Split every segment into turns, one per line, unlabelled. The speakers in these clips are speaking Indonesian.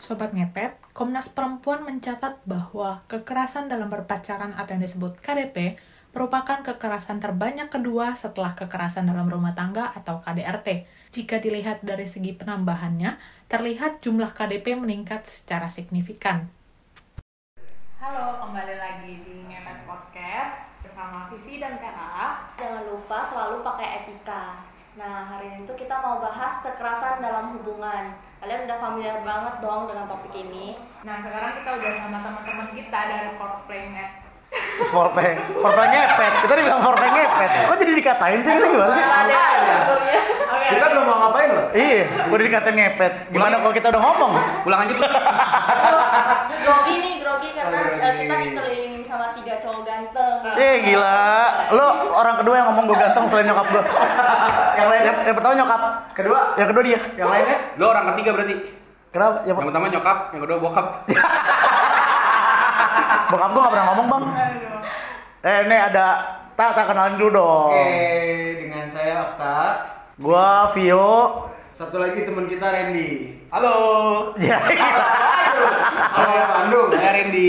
Sobat Ngepet, Komnas Perempuan mencatat bahwa kekerasan dalam berpacaran atau yang disebut KDP merupakan kekerasan terbanyak kedua setelah kekerasan dalam rumah tangga atau KDRT. Jika dilihat dari segi penambahannya, terlihat jumlah KDP meningkat secara signifikan. Halo, kembali lagi di Ngepet Podcast bersama Vivi dan Kara.
Jangan lupa selalu pakai etika. Nah, hari ini tuh kita mau bahas kekerasan dalam hubungan. Kalian udah familiar banget dong dengan topik ini.
Nah, sekarang kita udah sama teman-teman kita dari Foreplay Net.
Forpe, forpe ngepet. Kita dibilang forpe ngepet. Kok jadi dikatain sih? Kita gimana sih?
Ada
ya?
kategorinya.
Oke,
Kita belum mau ngapain loh.
Iya, udah dikatain ngepet. Gimana kalau kita udah ngomong?
Pulang aja dulu.
grogi nih, grogi karena
Oh, grogi. Ah.
eh, kita dikelilingin sama tiga cowok ganteng.
Eh gila, lo orang kedua yang ngomong gue ganteng selain nyokap gue. yang lain, yang, yang pertama nyokap,
Kedua,
yang kedua dia.
yang ya? lainnya lo orang ketiga berarti.
Kenapa? Yang
Yang pertama nyokap, yang kedua bokap.
bokap gue gak pernah ngomong bang. Eh ini ada, tak tak kenalin dulu dong.
Oke, dengan saya Okta.
Gua Vio.
Satu lagi teman kita Randy. Halo.
Ya, gila.
Halo Bandung. Saya Randy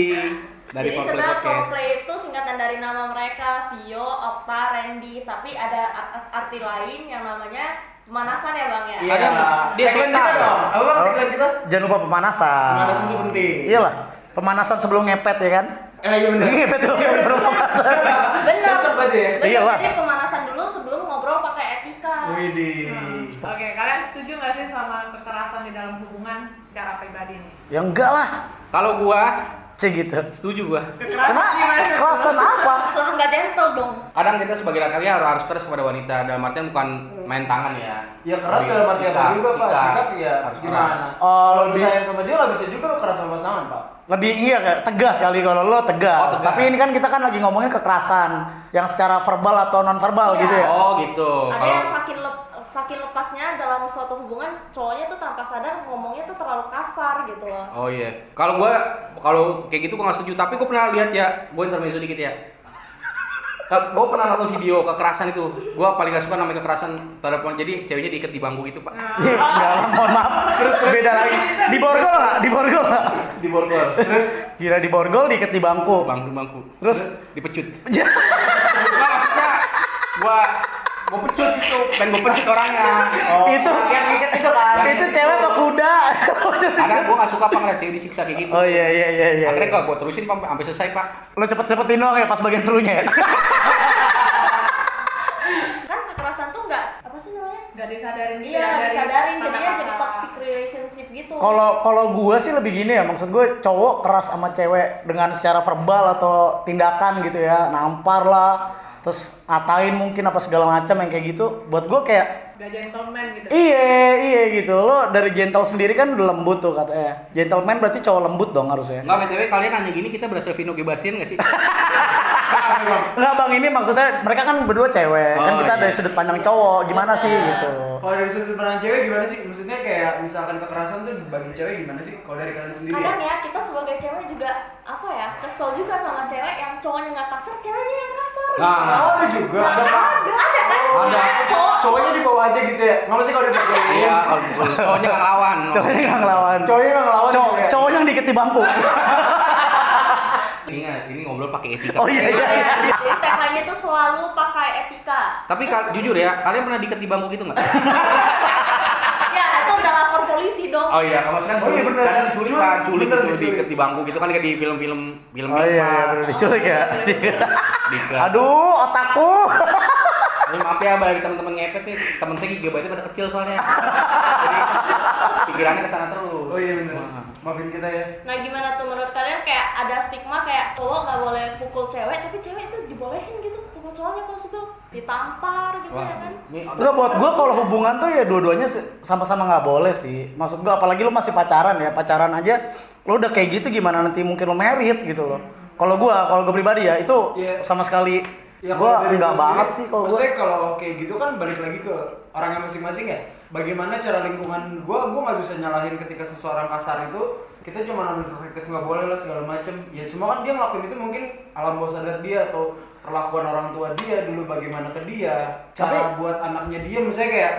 dari
Jadi
Foreplay
sebenarnya
Podcast.
Foreplay itu singkatan dari nama mereka, Vio, Okta, Randy. Tapi ada ar- ar- arti lain yang namanya pemanasan ya bang ya?
Iya.
Dia
Tagline
sebentar.
kita dong. Apa bang tagline kita?
Jangan lupa pemanasan.
Pemanasan itu penting.
Iyalah, pemanasan sebelum ngepet ya kan?
Eh, iya benar.
Ngepet dulu baru pemanasan.
Benar.
Cocok aja ya.
Benar,
Iya, Bang.
jadi pemanasan dulu sebelum ngobrol pakai etika.
Widih.
Oke, kalian setuju nggak sih sama kekerasan di dalam hubungan secara pribadi nih?
Ya enggak lah,
Kalau gua
cie gitu.
setuju gua.
Kenapa? Kerasan apa?
Langsung nggak gentle dong.
kadang kita sebagai laki-laki harus harus keras kepada wanita dalam artian bukan main tangan ya
Ya keras
Tapi
dalam arti
sikap,
apa juga pak?
sikap.
Sikap ya
harus keras
gimana?
Oh,
Kalau
lebih-
disayang sama dia nggak bisa juga lo keras sama pasangan pak.
Lebih iya kayak tegas kali kalau lo
Oh,
tegas.
tegas.
Tapi ini kan kita kan lagi ngomongin kekerasan yang secara verbal atau non verbal
Iya.
gitu ya.
oh gitu
Ada
kalau
yang saking lep- saking lepasnya dalam suatu hubungan cowoknya tuh tanpa sadar ngomongnya tuh terlalu kasar gitu loh.
oh iya kalau gua kalau kayak gitu gua nggak setuju tapi gua pernah lihat ya gua intermezzo dikit ya Nah, gua pernah nonton video kekerasan itu gua paling gak suka namanya kekerasan terhadap wanita jadi ceweknya diikat di bangku gitu pak
Iya, enggak lah, mohon maaf. Beda lagi. Di borgol nggak? Di borgol nggak?
Di borgol. Terus
Gila di borgol diikat di bangku.
Oh, bangku bangku
Terus?
dipecut
Ya,
Gua maksudnya gua gua pecut itu pengen gua pecut orangnya Oh.
itu
Oh.
Iya,
yang ikat itu kan.
itu cewek apa kuda?
karena gua nggak suka pak ngeliat cewek disiksa kayak gitu
oh iya iya iya iya.
akhirnya gua gua terusin pak sampai selesai pak
Lo cepet-cepetin doang ya pas bagian serunya ya.
Kan kekerasan tuh nggak apa sih namanya?
Gak disadarin gitu ya,
Iya,
dari
disadarin jadinya
kata-kata.
jadi toxic relationship gitu.
Kalau kalau gue sih lebih gini ya, maksud gue cowok keras sama cewek dengan secara verbal atau tindakan gitu ya, nampar lah, terus ngatain mungkin apa segala macam yang kayak gitu. Buat gue kayak
Gak gentleman gitu.
iye iye gitu. Lo dari gentle sendiri kan udah lembut tuh katanya. Gentleman berarti cowok lembut dong harusnya.
Enggak, BTW kalian nanya gini kita berasa Vino Gebasian gak sih?
Enggak bang ini maksudnya mereka kan berdua cewek, kan
Oh,
kita
iya.
dari sudut pandang cowok gimana sih gitu.
Kalau dari sudut pandang cewek gimana sih? Maksudnya kayak misalkan kekerasan tuh bagi cewek gimana sih? Kalau dari kalian sendiri ya?
kadang ya kita sebagai cewek juga apa ya kesel juga sama cewek yang cowoknya nggak kasar ceweknya yang kasar
Nah,
Oh, ada juga.
Nah,
Ada, Pak.
ada ada kan
Oh, Ada.
Misalnya cowok
Cowoknya di bawah aja gitu ya. Nggak sih kalau dipakai.
Iya, kalau kalau cowoknya nggak lawan.
Cowoknya nggak ngelawan.
Cowoknya nggak ngelawan.
Cowok
juga ya?
cowok yang dikit di bangku.
Iya,
iya,
ya, gitu
Ya,
Oh,
Oh, iya, kan gitu
iya, ya?
ya,
Oh, iya. ya.
Nah, "Oh, gitu, ya kan?
ya ya, gitu ya,
Ya, gitu kan ya.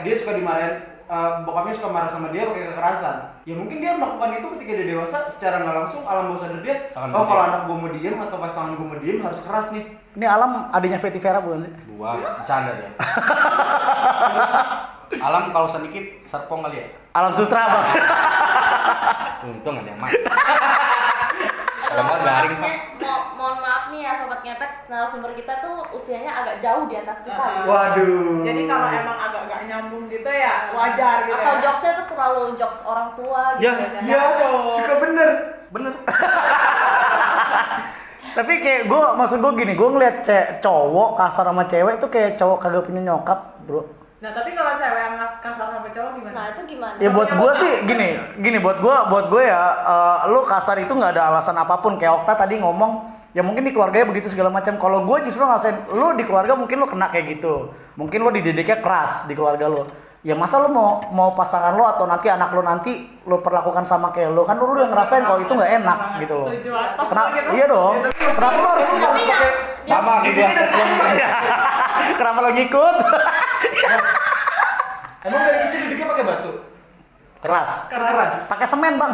Ya, kan eh, bokapnya suka marah sama dia pakai kekerasan ya mungkin dia melakukan itu ketika dia dewasa secara nggak langsung alam bawah sadar dia
Akan
oh
berdiam.
kalau anak gue mau diem atau pasangan gue mau diem harus keras nih
Ini alam adanya Fetty Vera bukan sih?
Gua bercanda ya. Alam kalau sedikit satpong kali ya.
Alam Sutra bang.
Untung ada yang main. Kalau nggak garing pak.
Mo- mohon maaf nih ya sobat ngepet, narasumber kita tuh usianya agak jauh di atas kita.
Ah.
gitu.
waduh
Jadi kalau emang agak nggak nyambung gitu ya wajar gitu.
Atau
ya.
jokesnya tuh terlalu jokes orang tua gitu.
Ya,
kan.
ya suka bener
Bener.
Tapi kayak gue maksud gue gini, gue ngeliat ce- cowok kasar sama cewek itu kayak cowok kagak punya nyokap bro.
Nah tapi kalau cewek yang kasar sama cowok gimana?
Nah itu gimana?
Ya buat gue sih gini, gini buat gue, buat gue ya lo lu kasar itu nggak ada alasan apapun. Kayak Okta tadi ngomong, ya mungkin di keluarganya begitu segala macam. Kalau gue justru ngasain, lu di keluarga mungkin lu kena kayak gitu. Mungkin lu dididiknya keras di keluarga lu. Ya masa lu mau mau pasangan lu atau nanti anak lu nanti lu perlakukan sama kayak lu kan lu udah ngerasain kalau itu nggak enak gitu loh.
Setuju atas
Kenapa?
gitu.
Iya dong. Kenapa lu harus
Tapi
ya,
harus
iya.
pakai
Sama kayak gua.
Kenapa lo ngikut?
emang dari kecil didiknya pakai batu
Keras.
keras
Pakai semen bang,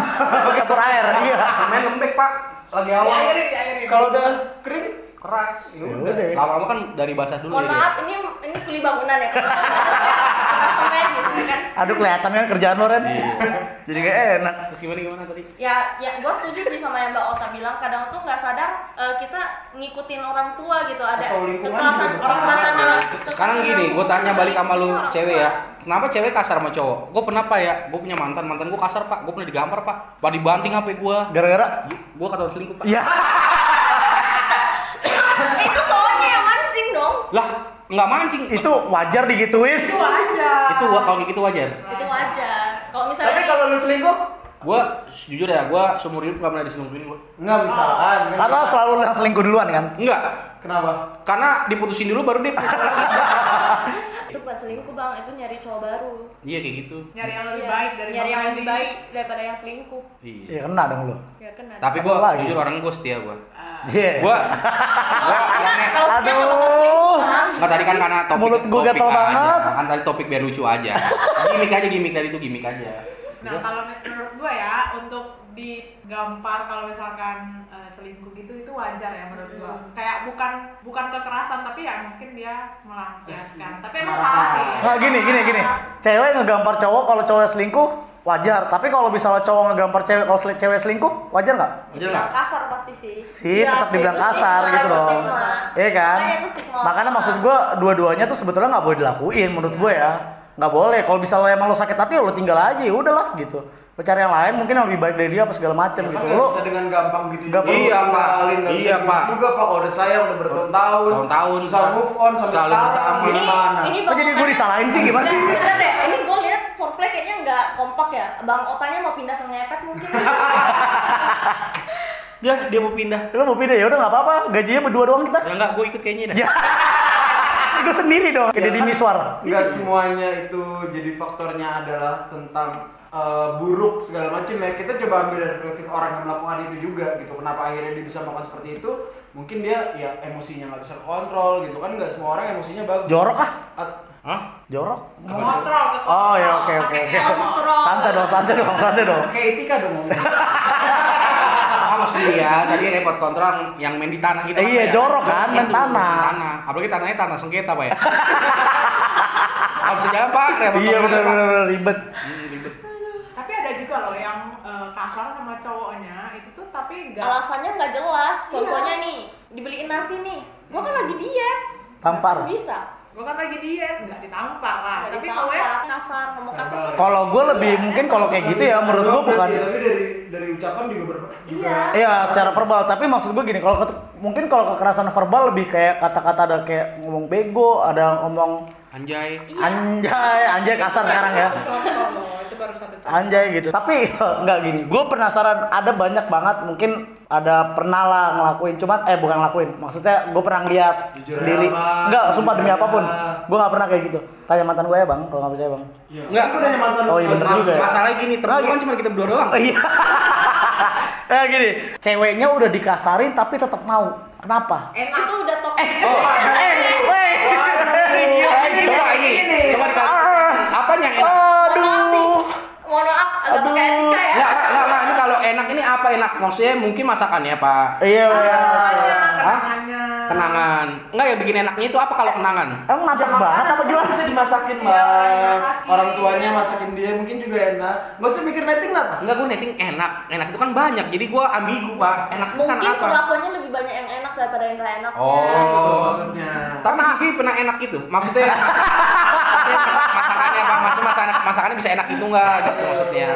campur air. Iya.
Main lembek pak. Lagi awal.
Ya,
Diairin, diairin.
kalau udah kering
Keras. Ya
Ya
udah.
udah.
Lama-lama kan dari basah dulu
Mohon
ya.
maaf, ini ini kuli bangunan ya. Kalau kita semen gitu ya kan.
Aduh kelihatan kan kerjaan lo Ren.
Iya.
Jadi kayak enak.
Terus gimana gimana tadi?
Ya, ya gue setuju sih sama yang Mbak Ota bilang. Kadang tuh nggak sadar eh, kita ngikutin orang tua gitu. Ada
Atau lingkungan
kekerasan,
juga
kekerasan
berpengaruh.
dalam-
Nah, Sekarang gini, gue tanya balik sama lu
Orang
cewek
tua.
ya. Kenapa cewek kasar sama cowok? Gue pernah pak ya, gue punya mantan, mantan gue kasar pak, gue pernah digampar pak, pak dibanting HP gue,
Gara-gara.
gue ketahuan selingkuh pak.
Ya.
Eh, itu cowoknya yang mancing dong.
Lah, nggak mancing.
Itu wajar digituin.
itu aja.
itu wa- kalau gitu wajar.
Itu wajar. Kalau misalnya
tapi kalau lu selingkuh
Gue jujur ya, gue seumur hidup nggak pernah diselingkuhin gue.
nggak misalkan kan
Karena
bisa.
selalu yang selingkuh duluan kan.
Enggak,
kenapa
karena diputusin dulu baru dia.
itu bukan selingkuh bang, itu nyari cowok baru.
iya kayak gitu.
nyari yang lebih
Iya,
baik dari
nyari yang
Bang
lebih
Andi.
baik daripada yang selingkuh.
Iya.
Ya kena dong lo.
Ya kena.
Tapi gue
Apa lagi?
jujur orang gue setia gue.
Ah.
Iya.
Gue
kalau setia- kalau setia nggak bakal
Aduh.
selingkuh bang.
nggak tadi kan karena topik
Mulut gua
topik
gatel
aja.
banget.
Kan tadi topik biar lucu aja. gimik aja gimik tadi itu gimik aja.
Iya.
Nah kalau men- menurut gue ya untuk digampar kalau misalkan eh, selingkuh gitu itu wajar ya menurut gue.
Hmm.
Kayak bukan bukan kekerasan tapi ya mungkin dia melampiaskan.
Iya.
Tapi emang
Marah.
salah sih.
Nah gini gini gini. Cewek ngegampar cowok kalau cowok selingkuh wajar. Tapi kalau misalnya cowok ngegampar cewek kalau sel- cewek selingkuh wajar nggak?
Wajar
Dibilang
nggak?
kasar pasti sih.
sih
Iya,
tetap dibilang
itu
kasar
stigma,
gitu
itu
loh
stigma.
Eh,
iya kan
Makanya itu stigma.
makanya maksud gue dua-duanya tuh sebetulnya nggak boleh dilakuin menurut gue ya nggak boleh kalau misalnya emang lo sakit hati ya lo tinggal aja ya udahlah gitu lo cari yang lain mungkin yang lebih baik dari dia apa segala macem
Kan
gitu
nggak
lo
bisa dengan gampang gitu
Nggak
juga.
perlu. Iya, Pak.
Kenalin, nggak bisa
Iya,
gitu
Pak.
juga pak kalau udah sayang udah bertahun-tahun
Tahun-tahun,
susah
susah.
move on sampai
Selalu
sekarang
bersama.
Ini
gimana
ini
kok jadi gue disalahin sih gimana sih
Bener deh, ini gue lihat foreplay kayaknya nggak kompak ya. Bang Otanya mau pindah ke ngepet mungkin.
Dia dia mau pindah.
lo mau pindah ya udah nggak apa-apa gajinya berdua doang kita
Ya enggak, gue ikut kayaknya dah.
ya gue sendiri dong kayak di miswar
nggak semuanya itu jadi faktornya adalah tentang eh, buruk segala macam ya kita coba ambil dari perspektif orang yang melakukan itu juga gitu kenapa akhirnya dia bisa melakukan seperti itu mungkin dia ya emosinya nggak bisa kontrol gitu kan nggak semua orang emosinya bagus
jorok ah
At-
Hah?
jorok
Kontrol ke
oh ya oke oke oke
Kontrol.
santai dong santai dong santai dong
kayak etika dong ngomongnya.
Ah, maksudnya ya, tadi repot kontrol yang main di tanah gitu.
Eh, iya,
ya?
jorok kan, main
Itu,
tanah.
tanah. Apalagi tanahnya tanah sengketa, Pak ya. Kalau bisa jalan, Pak, repot
iya
kontrol, Pak.
benar-benar ribet
Hmm, ribet.
Tapi ada juga loh yang eh, kasar sama cowoknya itu tuh tapi enggak
Alasannya nggak jelas. Contohnya nih, dibeliin nasi nih. Gue kan lagi diet.
Tampar.
Nggak Bisa.
gue kan lagi diet nggak ditampar lah.
Ah,
Nggak
tapi kalau
ditampar.
ya
kasar, ngomong kasar.
Sabar.
tuh-
Kalau gue lebih
Iya,
mungkin
kan?
kalau kayak gitu ya menurut gue
Tapi-
bukan
tapi dari dari ucapan juga ber juga
Iya.
Iya secara verbal tapi maksud gue gini kalau ket- mungkin kalau kekerasan verbal lebih kayak kata-kata ada kayak ngomong bego ada ngomong
Anjay.
Iya.
anjay anjay kasar sekarang ya
contoh loh itu baru satu contoh.
anjay gitu tapi nggak gini gue penasaran ada banyak banget mungkin ada pernah lah ngelakuin cuman eh bukan ngelakuin maksudnya gue pernah lihat
Jujur
sendiri
aja, Bang.
nggak sumpah demi
Jujur ya. aja.
apapun gue nggak pernah kayak gitu tanya mantan gue ya bang kalau nggak percaya bang
Iya.
Nggak.
Kan gua nanya mantan
Oh, iya, bener
mantan-
juga ya.
Masalahnya gini, temen kan cuma kita berdua doang.
Oh, iya eh gini ceweknya udah dikasarin tapi tetap mau kenapa
Enak.
Nah, Itu udah top.
Eh, wey. Ini gila, ini gila. Iya. Ah.
Coba ini, coba dikasih. Apa apanya yang enak?
Aduh.
Mohon maaf, ada
Aduh.
pakai etika ya.
Enggak, enggak, enggak, enggak. Ini kalau enak ini apa enak? Maksudnya mungkin masakannya, Pak.
Iya, iya.
oh.
Hah?
Tangannya.
Kenangan. Enggak ya bikin enaknya itu apa kalau kenangan?
Emang mantap banget apa gimana
bisa
sih?
dimasakin
Iya,
mbak
dimasakin.
orang tuanya masakin dia mungkin juga enak gak usah mikir netting kenapa
Enggak, gue netting enak. Enak itu kan banyak. Jadi gue ambigu, Pak. Enak itu kan
Mungkin
apa?
perlakuannya lebih banyak yang enak daripada yang gak enak.
Oh.
Gitu maksudnya
Tapi Sivi pernah enak gitu. Maksudnya maksudnya masak- masakannya apa? Maksudnya masakan masakannya bisa enak gitu enggak gitu maksudnya.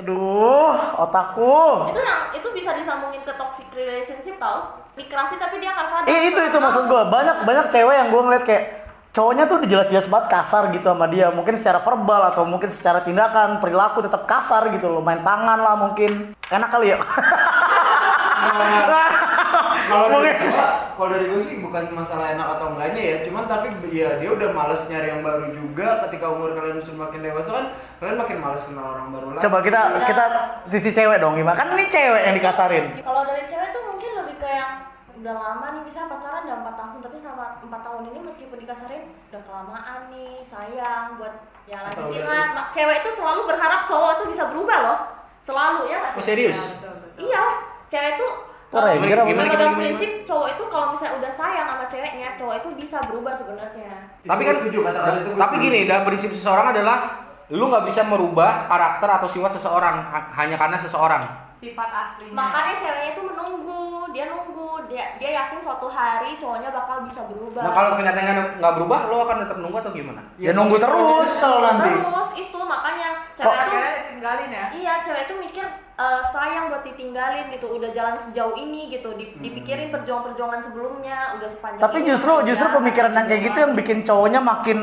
Aduh, otakku.
Itu yang itu bisa disambungin ke toxic relationship tau? Migrasi tapi dia nggak sadar.
Eh itu itu maksud gue banyak banyak cewek yang gue ngeliat kayak cowoknya tuh jelas-jelas banget kasar gitu sama dia mungkin secara verbal atau mungkin secara tindakan perilaku tetap kasar gitu loh main tangan lah mungkin enak kali ya
kalau dari
Mungkin.
gua, kalau dari gue sih bukan masalah enak atau enggaknya ya cuman tapi ya dia udah males nyari yang baru juga ketika umur kalian semakin dewasa kan kalian makin males kenal orang baru lagi
coba kita kita sisi cewek dong gimana kan ini cewek yang dikasarin
Ya, Kalau dari cewek tuh mungkin lebih ke yang udah lama nih bisa pacaran udah empat tahun tapi selama empat tahun ini meskipun dikasarin udah kelamaan nih sayang buat ya
Atau
lanjutin
udah-
lah Ma- cewek itu selalu berharap cowok tuh bisa berubah loh selalu ya nggak sih?
Oh, serius?
Iya, betul, betul. iya cewek tuh
Wah,
eh,
Ranger apa?
Gimana, gimana,
memegang
gimana?
prinsip cowok itu kalau misalnya udah sayang sama ceweknya cowok itu bisa berubah sebenarnya
Itu
Tapi
gua
kan
setuju kata-kata itu gua
tapi
setuju.
gini, dalam prinsip seseorang adalah lu nggak bisa merubah karakter atau sifat seseorang ha- hanya karena seseorang.
sifat aslinya
makanya ceweknya itu menunggu dia nunggu dia dia yakin suatu hari cowoknya bakal bisa berubah
Nah, kalau kenyataannya nggak berubah, lu akan tetap nunggu atau gimana?
Ya, nunggu
sampai
terus.
nyesel nanti
terus itu makanya
Nah,
cewek itu
akhirnya ditinggalin ya
iya cewek itu mikir eh, sayang buat ditinggalin gitu udah jalan sejauh ini gitu Di- dipikirin perjuangan-perjuangan sebelumnya udah sepanjang
Hmm. tapi
ini,
justru justru
sepanjang-
pemikiran yang kayak gitu yang bikin cowoknya makin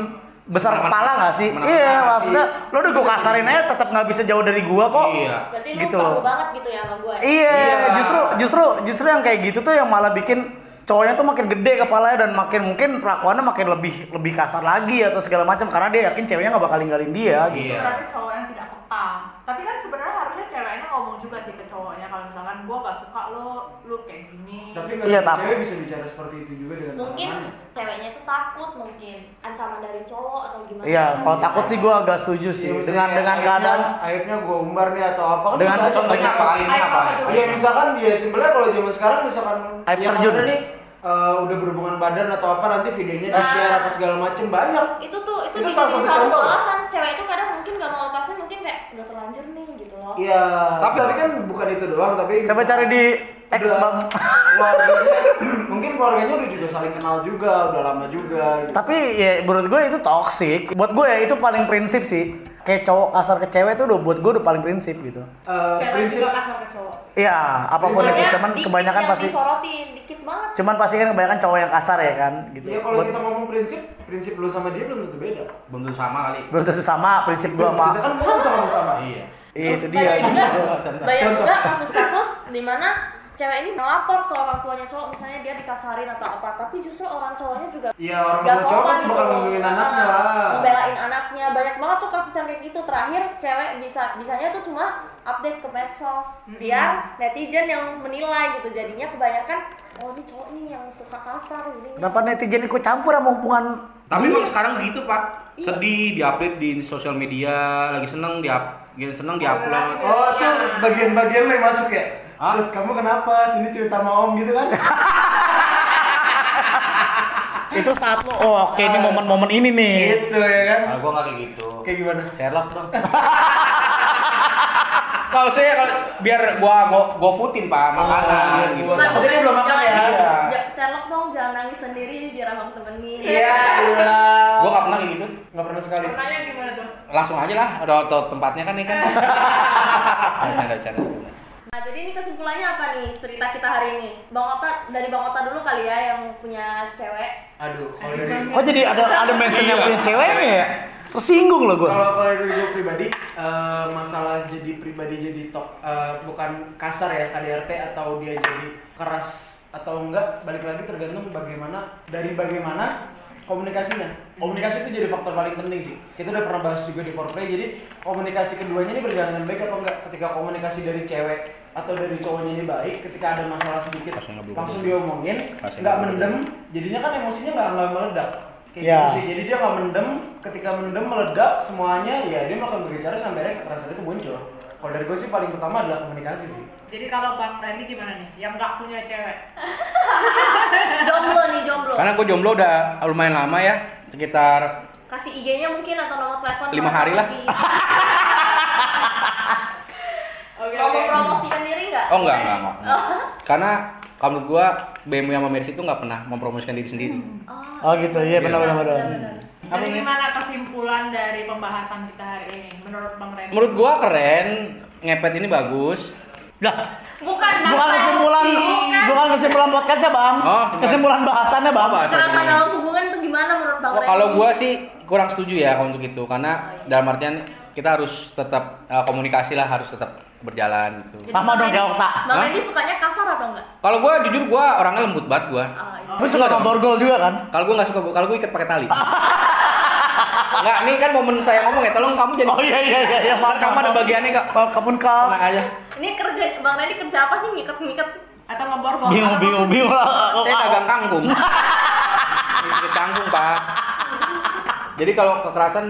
besar
Menekan-
kepala gak sih?
menekan
Iya
hati.
maksudnya lo udah gue kasarin aja tetap nggak bisa jauh dari gua kok.
Iya.
berarti lu
gitu
perlu
loh.
banget gitu ya sama gue
Iya,
Iya.
justru justru justru yang kayak gitu tuh yang malah bikin cowoknya tuh makin gede kepalanya dan makin mungkin perlakuannya makin lebih lebih kasar lagi atau segala macam karena dia yakin ceweknya nggak bakal ninggalin dia gitu.
itu
Iya.
berarti cowok yang tidak peka tapi kan sebenarnya harusnya ceweknya ngomong juga sih ke cowoknya kalau misalkan gua gak suka lo lu kayak gini
tapi nggak
Iya,
semua
tapi-
cewek bisa bicara seperti itu juga dengan
mungkin
pasangannya.
ceweknya itu takut mungkin ancaman dari cowok atau gimana
Iya, kalau takut sih gua agak setuju sih
Iya, misalnya
dengan dengan
akhirnya-
keadaan
akhirnya gue umbar nih atau apa kan
Dengan
bisa aja
Contohnya apa?
kayak-
Akhirnya apa?
Ayo, apa
Ya misalkan dia simpelnya kalau zaman sekarang misalkan
Aib
yang
terjun.
ada nih eh, udah berhubungan badan atau apa nanti videonya di
Nah.
share apa segala macem banyak.
itu tuh itu,
Itu
bisa
salah
jadi
satu
satu
contoh.
alasan cewek itu kadang mungkin gak mau lepasin mungkin kayak udah terlanjur nih gitu loh
Iya. Tapi
Tapi-
tapi kan bukan itu doang tapi
coba
misalkan
cari di X
udah
bang.
Keluarganya mungkin keluarganya udah juga saling kenal juga, udah lama juga. gitu.
Tapi ya menurut gue itu toxic. Buat gue ya, itu paling prinsip sih. Kayak cowok kasar ke cewek itu udah buat gue udah paling prinsip gitu.
Eh,
cewek
prinsip
juga kasar ke cowok sih
Iya, apapun
Maksudnya
itu cuman
dikit
kebanyakan
yang
pasti
disorotin dikit banget
cuman pasti kan kebanyakan cowok yang kasar ya kan gitu.
Iya kalau
Buat-
kita ngomong prinsip, prinsip lu sama dia belum tentu beda.
Belum tentu sama kali.
belum tentu sama prinsip gua sama
Prinsipnya kan belum sama-sama.
Iya.
Iya, itu dia.
banyak juga banyak
Contoh.
juga kasus-kasus di mana cewek ini melapor ke orang tuanya cowok misalnya dia dikasarin atau apa tapi justru orang cowoknya juga
Iya orang
nggak
tua cowok
sopan
pasti bakal
gitu.
ngomongin anaknya lah.
membelain anaknya banyak banget tuh kasus yang kayak gitu terakhir cewek bisa bisanya tuh cuma update ke medsos biar netizen yang menilai gitu jadinya kebanyakan oh ini cowok nih yang suka kasar jadi
Kenapa netizen ikut campur sama hubungan
Tapi emang sekarang gitu pak, sedih diupdate di sosial media, lagi seneng di lagi seneng diupload.
Oh, tuh bagian-bagian lo yang masuk ya?
Hah?
Sud, kamu kenapa? Sini cerita sama om gitu kan?
itu saat lo oh oke ini momen-momen ini nih.
gitu ya kan?
Kalau gua nggak kayak gitu.
Kayak gimana?
Sherlock dong. kalau saya kalau biar gua go go footin pak
iya,
makanan gitu.
gua- Takutnya dia belum makan ya?
Iya.
ja, Sherlock dong jangan nangis sendiri biar abang temenin
Iya, iya.
Gua nggak pernah kayak gitu.
Nggak pernah sekali.
pernahnya gimana tuh
Langsung aja lah, udah tau tempatnya kan nih kan. Canda canda.
Nah, jadi ini kesimpulannya apa nih cerita kita hari ini? Bang Ota dari Bang Ota dulu kali ya yang punya cewek.
Aduh, kalau dari
Kok jadi ada ada mention yang
Iya.
punya ceweknya ya? Tersinggung lo gua.
kalau kalau dari gue pribadi eh, masalah jadi pribadi jadi tok eh, bukan kasar ya KDRT atau dia jadi keras atau enggak balik lagi tergantung bagaimana dari bagaimana komunikasinya komunikasi itu jadi faktor paling penting sih kita udah pernah bahas juga di foreplay jadi komunikasi keduanya ini berjalan dengan baik apa enggak ketika komunikasi dari cewek atau dari cowoknya ini baik ketika ada masalah sedikit
Rasanya nggak berubah.
langsung diomongin
Rasanya
nggak
nggak berubah.
mendem jadinya kan emosinya nggak nggak meledak kayak
Ya.
gitu sih jadi dia nggak mendem ketika mendem meledak semuanya ya dia melakukan berbicara sampai akhirnya kekerasan itu muncul kalau dari gue sih paling pertama adalah komunikasi sih
Jadi kalau Bang Randy gimana nih? Yang nggak punya cewek?
jomblo nih jomblo
Karena gue jomblo udah lumayan lama ya, sekitar
kasih IG-nya mungkin atau nomor telepon
Lima hari lah.
Oke.
mau
oke.
mempromosikan diri nggak
oh enggak enggak enggak. Karena kalau menurut gue BMW sama Mercy itu nggak pernah mempromosikan diri sendiri.
Oh gitu, iya benar benar benar.
Jadi gimana kesimpulan dari pembahasan kita hari ini menurut Bang Randy?
Menurut gue keren, ngepet ini bagus.
Lah,
bukan
bukan kesimpulan,
kan?
bukan kesimpulan podcastnya bang,
Oh, bukan.
kesimpulan bahasannya bang.
Apa?
kekerasan dalam hubungan tuh gimana menurut bang
Wah,
Randy?
Oh, kalau gua sih kurang setuju ya kalau untuk itu karena dalam artian kita harus tetap eh, komunikasi lah harus tetap berjalan
Jadi
gitu.
Sama
Bang
dong kayak
Randy-
Okta.
bang
Hah?
Randy sukanya kasar atau enggak
Kalau gua jujur gua orangnya lembut banget gua.
Ah, iya.
Tapi suka sama borgol juga kan?
Kalau gua nggak suka kalau gua ikat pakai tali. Enggak, ini kan momen saya ngomong ya. Tolong kamu jadi
Oh iya iya iya, iya maaf.
kamu ada
maaf.
bagiannya kak.
Maaf kamu
Tenang
kak.
aja.
ini kerja bang Randy kerja apa sih ngikat ngikat
Atau ngebor-bor?
Bingung
Atau
bingung bingung lah.
Saya dagang kangkung. Ikat kangkung pak. Jadi kalau kekerasan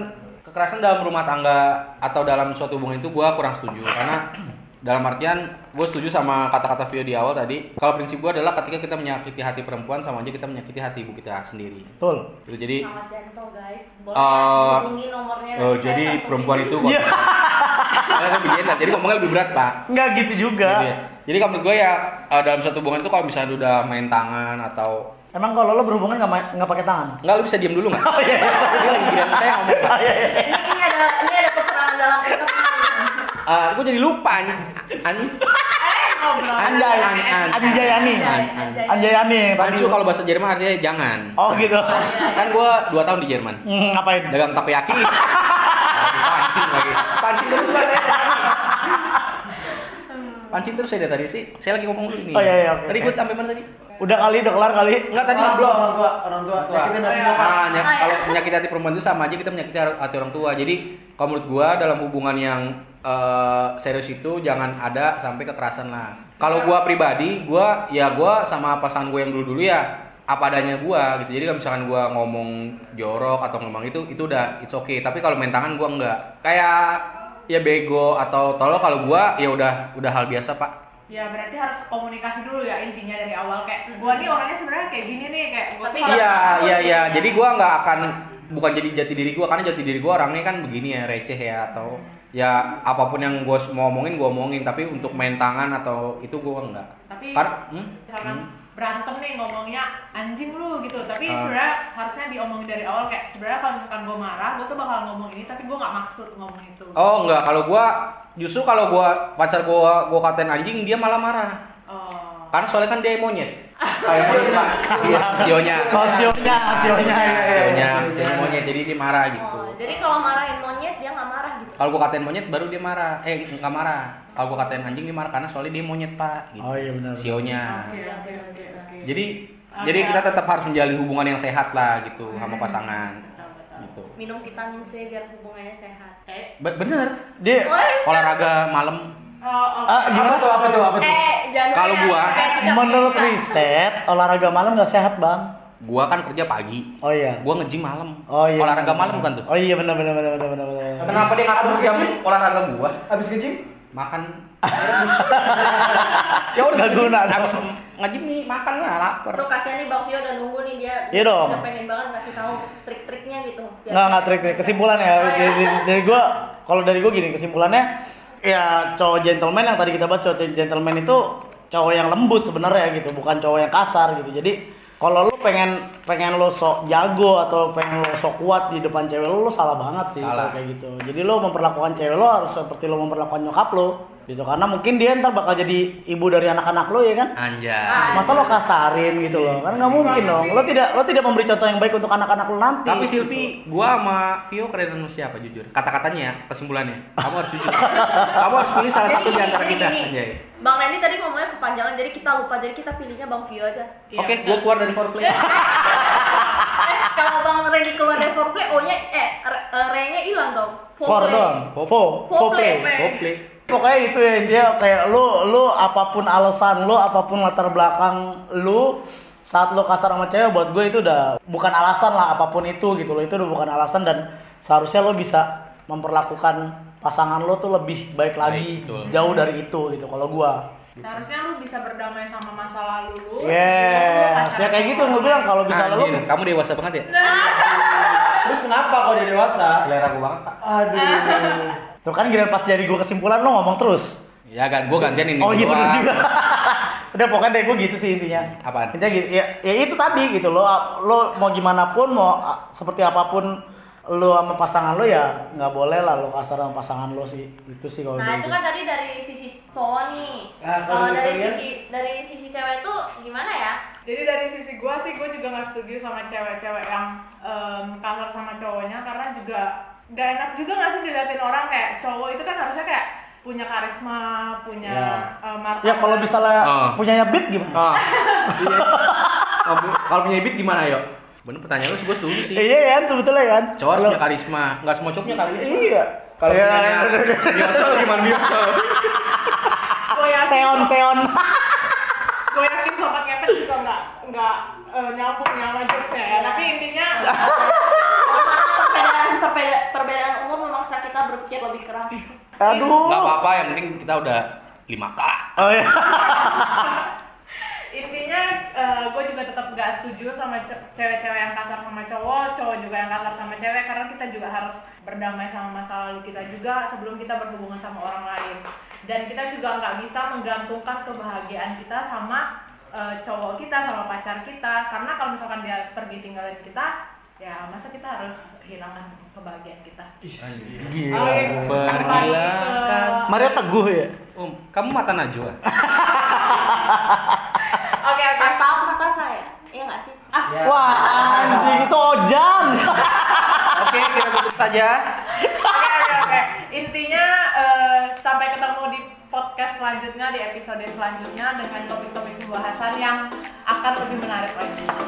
kekerasan dalam rumah tangga atau dalam suatu hubungan itu gua kurang setuju karena dalam artian gue setuju sama kata-kata Vio di awal tadi kalau prinsip gua adalah ketika kita menyakiti hati perempuan sama aja kita menyakiti hati ibu kita sendiri
Betul.
Gitu, jadi
sangat gentle guys boleh
Eh,
hubungi nomornya
eh,
nanti saya
jadi
sambungin.
perempuan itu kalau Karena saya begini, jadi ngomongnya lebih berat pak
Enggak gitu
Gitu ya.
juga.
Jadi kalau menurut gue ya eh, dalam satu hubungan itu kalau misalnya udah main tangan atau
Emang kalau lo berhubungan nggak ma- nggak pakai tangan?
nggak lu bisa diam dulu nggak? Oh iya. lagi giliran saya ngomong. Pak.
ini ini ada ini ada peperangan dalam peperangan
Eh, gue jadi lupa an an
Eh, ngobrol.
Anjay, an an
Anjayani.
Anjay.
Anjayani yang tadi.
Anju kalau bahasa Jerman artinya jangan.
Oh gitu.
Kan gue dua tahun di Jerman.
Hmm, ngapain?
Dagang takoyaki. Lagi pancing lagi. Pancing terus lah saya. dari tadi. Pancing terus saya dari tadi sih. Saya lagi ngomong dulu nih.
Hmm. Oh, iya, iya, oke,
Tadi
oke.
gue sampai mana tadi?
Udah kali, udah kelar kali.
Enggak tadi
orang tua
belum.
orang tua orang tua nyakitin hati nyokap
Ah, nyak-
Ah, ya.
kalau menyakiti hati perempuan itu sama aja kita menyakiti hati orang tua. Jadi kalau menurut gua dalam hubungan yang eh, serius itu jangan ada sampai kekerasan lah. Kalau gua pribadi, gua ya gua sama pasangan gua yang dulu-dulu ya apa adanya gua gitu. Jadi kalau misalkan gua ngomong jorok atau ngomong itu itu udah it's okay. Tapi kalau main tangan gua enggak. Kayak ya bego atau tolol kalau gua ya udah udah hal biasa, Pak.
Ya berarti harus komunikasi dulu ya intinya dari awal kayak gua nih orangnya sebenarnya kayak gini nih kayak gua
Tapi
tuh
Iya,
Jangan
iya, iya.
takut.
Jadi gua nggak akan bukan jadi jati diri gua karena jati diri gua orangnya kan begini ya, receh ya atau ya apapun yang gua mau omongin gua omongin tapi untuk main tangan atkalau itu gua nggak.
Tapi-
Karena hmm?
misalkan berantem nih ngomongnya anjing lu gitu tapi
Ah.
sebenarnya harusnya diomongin dari awal kayak sebenarnya kalau misalkan gua marah gua tuh bakal ngomong ini tapi gua nggak maksud ngomong itu
Oh, nggak. Kalau gua justru kalau gua pacar gua gua katain anjing dia malah marah.
Oh.
Karena soalnya kan dia monyet. Kayak monyet Pak. Iya, Sionya.
Oh, sionya, sionya. iya, iya, iya.
Sionya, jadi monyet jadi dia marah gitu.
Oh, jadi kalau marahin monyet dia nggak marah gitu
Kalau gua katain monyet baru dia marah. Eh, nggak marah. Kalau gua katain anjing dia marah karena soalnya dia monyet, Pak. Gitu.
Oh iya benar.
Sionya.
Oke oke oke oke.
Iya.
Jadi
Oke. Hmm.
jadi kita tetap harus menjalin hubungan yang sehat lah gitu sama pasangan.
Betul, betul.
Gitu.
minum vitamin C biar hubungannya sehat
Eh,
Be- bener.
Dia
Oi.
Olahraga malam.
oh, oke.
Ah,
apa
gimana?
tuh apa tuh apa tuh
eh jangan Eh,
Kalau gua,
Menurut riset, olahraga malam nggak sehat bang.
Gua kan kerja pagi.
Oh iya.
Gua nge-gym malam.
Oh iya.
Olahraga
benar,
malam
benar.
bukan tuh?
Oh iya benar benar benar benar benar. benar.
Kenapa dia ngatur
Abis
jam
nge-gym?
olahraga gua?
abis ke gym
Makan.
Ya udah nggak guna.
Habis nge-gym nih makan lah lapar.
Lu kasihan nih Bang Vio udah nunggu nih dia
Iya dong.
udah pengen banget ngasih tahu trik-triknya gitu biar-
Nggak nggak trik trik kesimpulan ya
Oh,
dari, dari gue kalau dari gue gini kesimpulannya ya cowok gentleman yang tadi kita bahas cowok gentleman itu cowok yang lembut sebenarnya gitu bukan cowok yang kasar gitu jadi kalau lu pengen pengen lo sok jago atau pengen lo sok kuat di depan cewek lo lo salah banget sih kalau
Salah.
kayak gitu jadi lo memperlakukan cewek lo harus seperti lo memperlakukan nyokap lo gitu karena mungkin dia ntar bakal jadi ibu dari anak-anak lo ya kan
Ah,
Ah,
Anjay.
masa lo kasarin gitu loh karena nggak mungkin dong lo tidak lo tidak memberi contoh yang baik untuk anak-anak lo nanti
Tapi Silvi, gua sama Vio keren sama siapa jujur? Kata-katanya ya, kesimpulannya. Kamu harus jujur. Kamu harus pilih salah
Jadi
satu di
gini,
antara
jadi
kita. Iya,
gini.
Anjay.
Bang Randy tadi ngomongnya kepanjangan jadi kita lupa jadi kita pilihnya Bang Vio aja.
Iya,
Oke,
betul.
gua keluar dari foreplay.
Eh, kalau Bang Randy keluar dari foreplay O-nya eh R- eh, R-nya hilang dong.
for
Foreplay.
dong
Four-
for for
four
play
play.
Foreplay.
pokoknya itu ya dia kayak lo lo apapun alasan lo apapun latar belakang lo saat lo kasar sama cewek buat gue itu udah bukan alasan lah apapun itu gitu loh itu udah bukan alasan dan seharusnya lo bisa memperlakukan pasangan lo tuh lebih baik lagi
betul.
jauh dari itu gitu kalau gua
Seharusnya lu bisa berdamai sama masa lalu lu.
yes ya Iya, kayak gitu gue bilang kalau bisa lo
Anjir, kamu dewasa banget ya?
Terus kenapa kalau dia dewasa?
Selera gue banget, Pak.
Aduh.
tuh kan giliran pas jadi gue kesimpulan lo ngomong terus
Ya kan, gue gantian ini.
oh iya
gua.
bener juga udah pokoknya deh gue gitu sih intinya
Apaan?
intinya gitu ya, ya itu tadi gitu lo lo mau gimana pun mau ah, seperti apapun lo sama pasangan lo ya nggak boleh lah lo kasar sama pasangan lo sih itu sih kalau gitu.
Nah
dari
itu
gue.
kan tadi dari sisi cowok nih.
Oh, gitu. Ah, kalau
Kalau dari
kalian?
sisi dari sisi cewek itu gimana ya?
Jadi dari sisi gua sih gua juga nggak setuju sama cewek-cewek yang em, kasar sama cowoknya karena juga gak enak juga nggak sih diliatin orang kayak cowok itu kan harusnya kayak punya karisma, punya
Ya.
eh, martabat.
ya kalau misalnya
Ah.
punyanya beat gimana
Ah, iya. Kalau pu- Kalau punya bibit gimana yo? Bener pertanyaan lu sih gue setuju sih.
iya kan sebetulnya kan
Cowok harus
Lo-
punya karisma, nggak semua cowok punya karisma.
iya
Kalau
Iya,
punya biasa gimana biasa?
Gua yakin-
seon seon
gue yakin sobat ngepet juga nggak nggak eh, nyambung ya sama jokesnya ya. Tapi intinya
Karena perbedaan perbedaan perbedaan umur memaksa kita berpikir lebih keras.
aduh
Nggak apa-apa, yang penting kita udah 5 k.
oh iya
intinya gue juga tetap nggak setuju sama ce- cewek-cewek yang kasar sama cowok, cowok juga yang kasar sama cewek karena kita juga harus berdamai sama masa lalu kita juga sebelum kita berhubungan sama orang lain. Dan kita juga nggak bisa menggantungkan kebahagiaan kita sama eh, cowok kita sama pacar kita karena kalau misalkan dia pergi tinggalin kita ya masa kita harus hilangkan kebahagiaan kita.
Gila.
Pergilah
kas.
Maria teguh ya
Om, Um, kamu mata najwa.
Oke oke.
Kata apa kata saya? Iya nggak sih? Ah,
Ya.
wah anjing itu ojan
Oke, kita tutup saja.
Oke, oke, oke. Intinya eh, sampai ketemu di podcast selanjutnya di episode selanjutnya dengan topik-topik pembahasan yang akan lebih menarik lagi.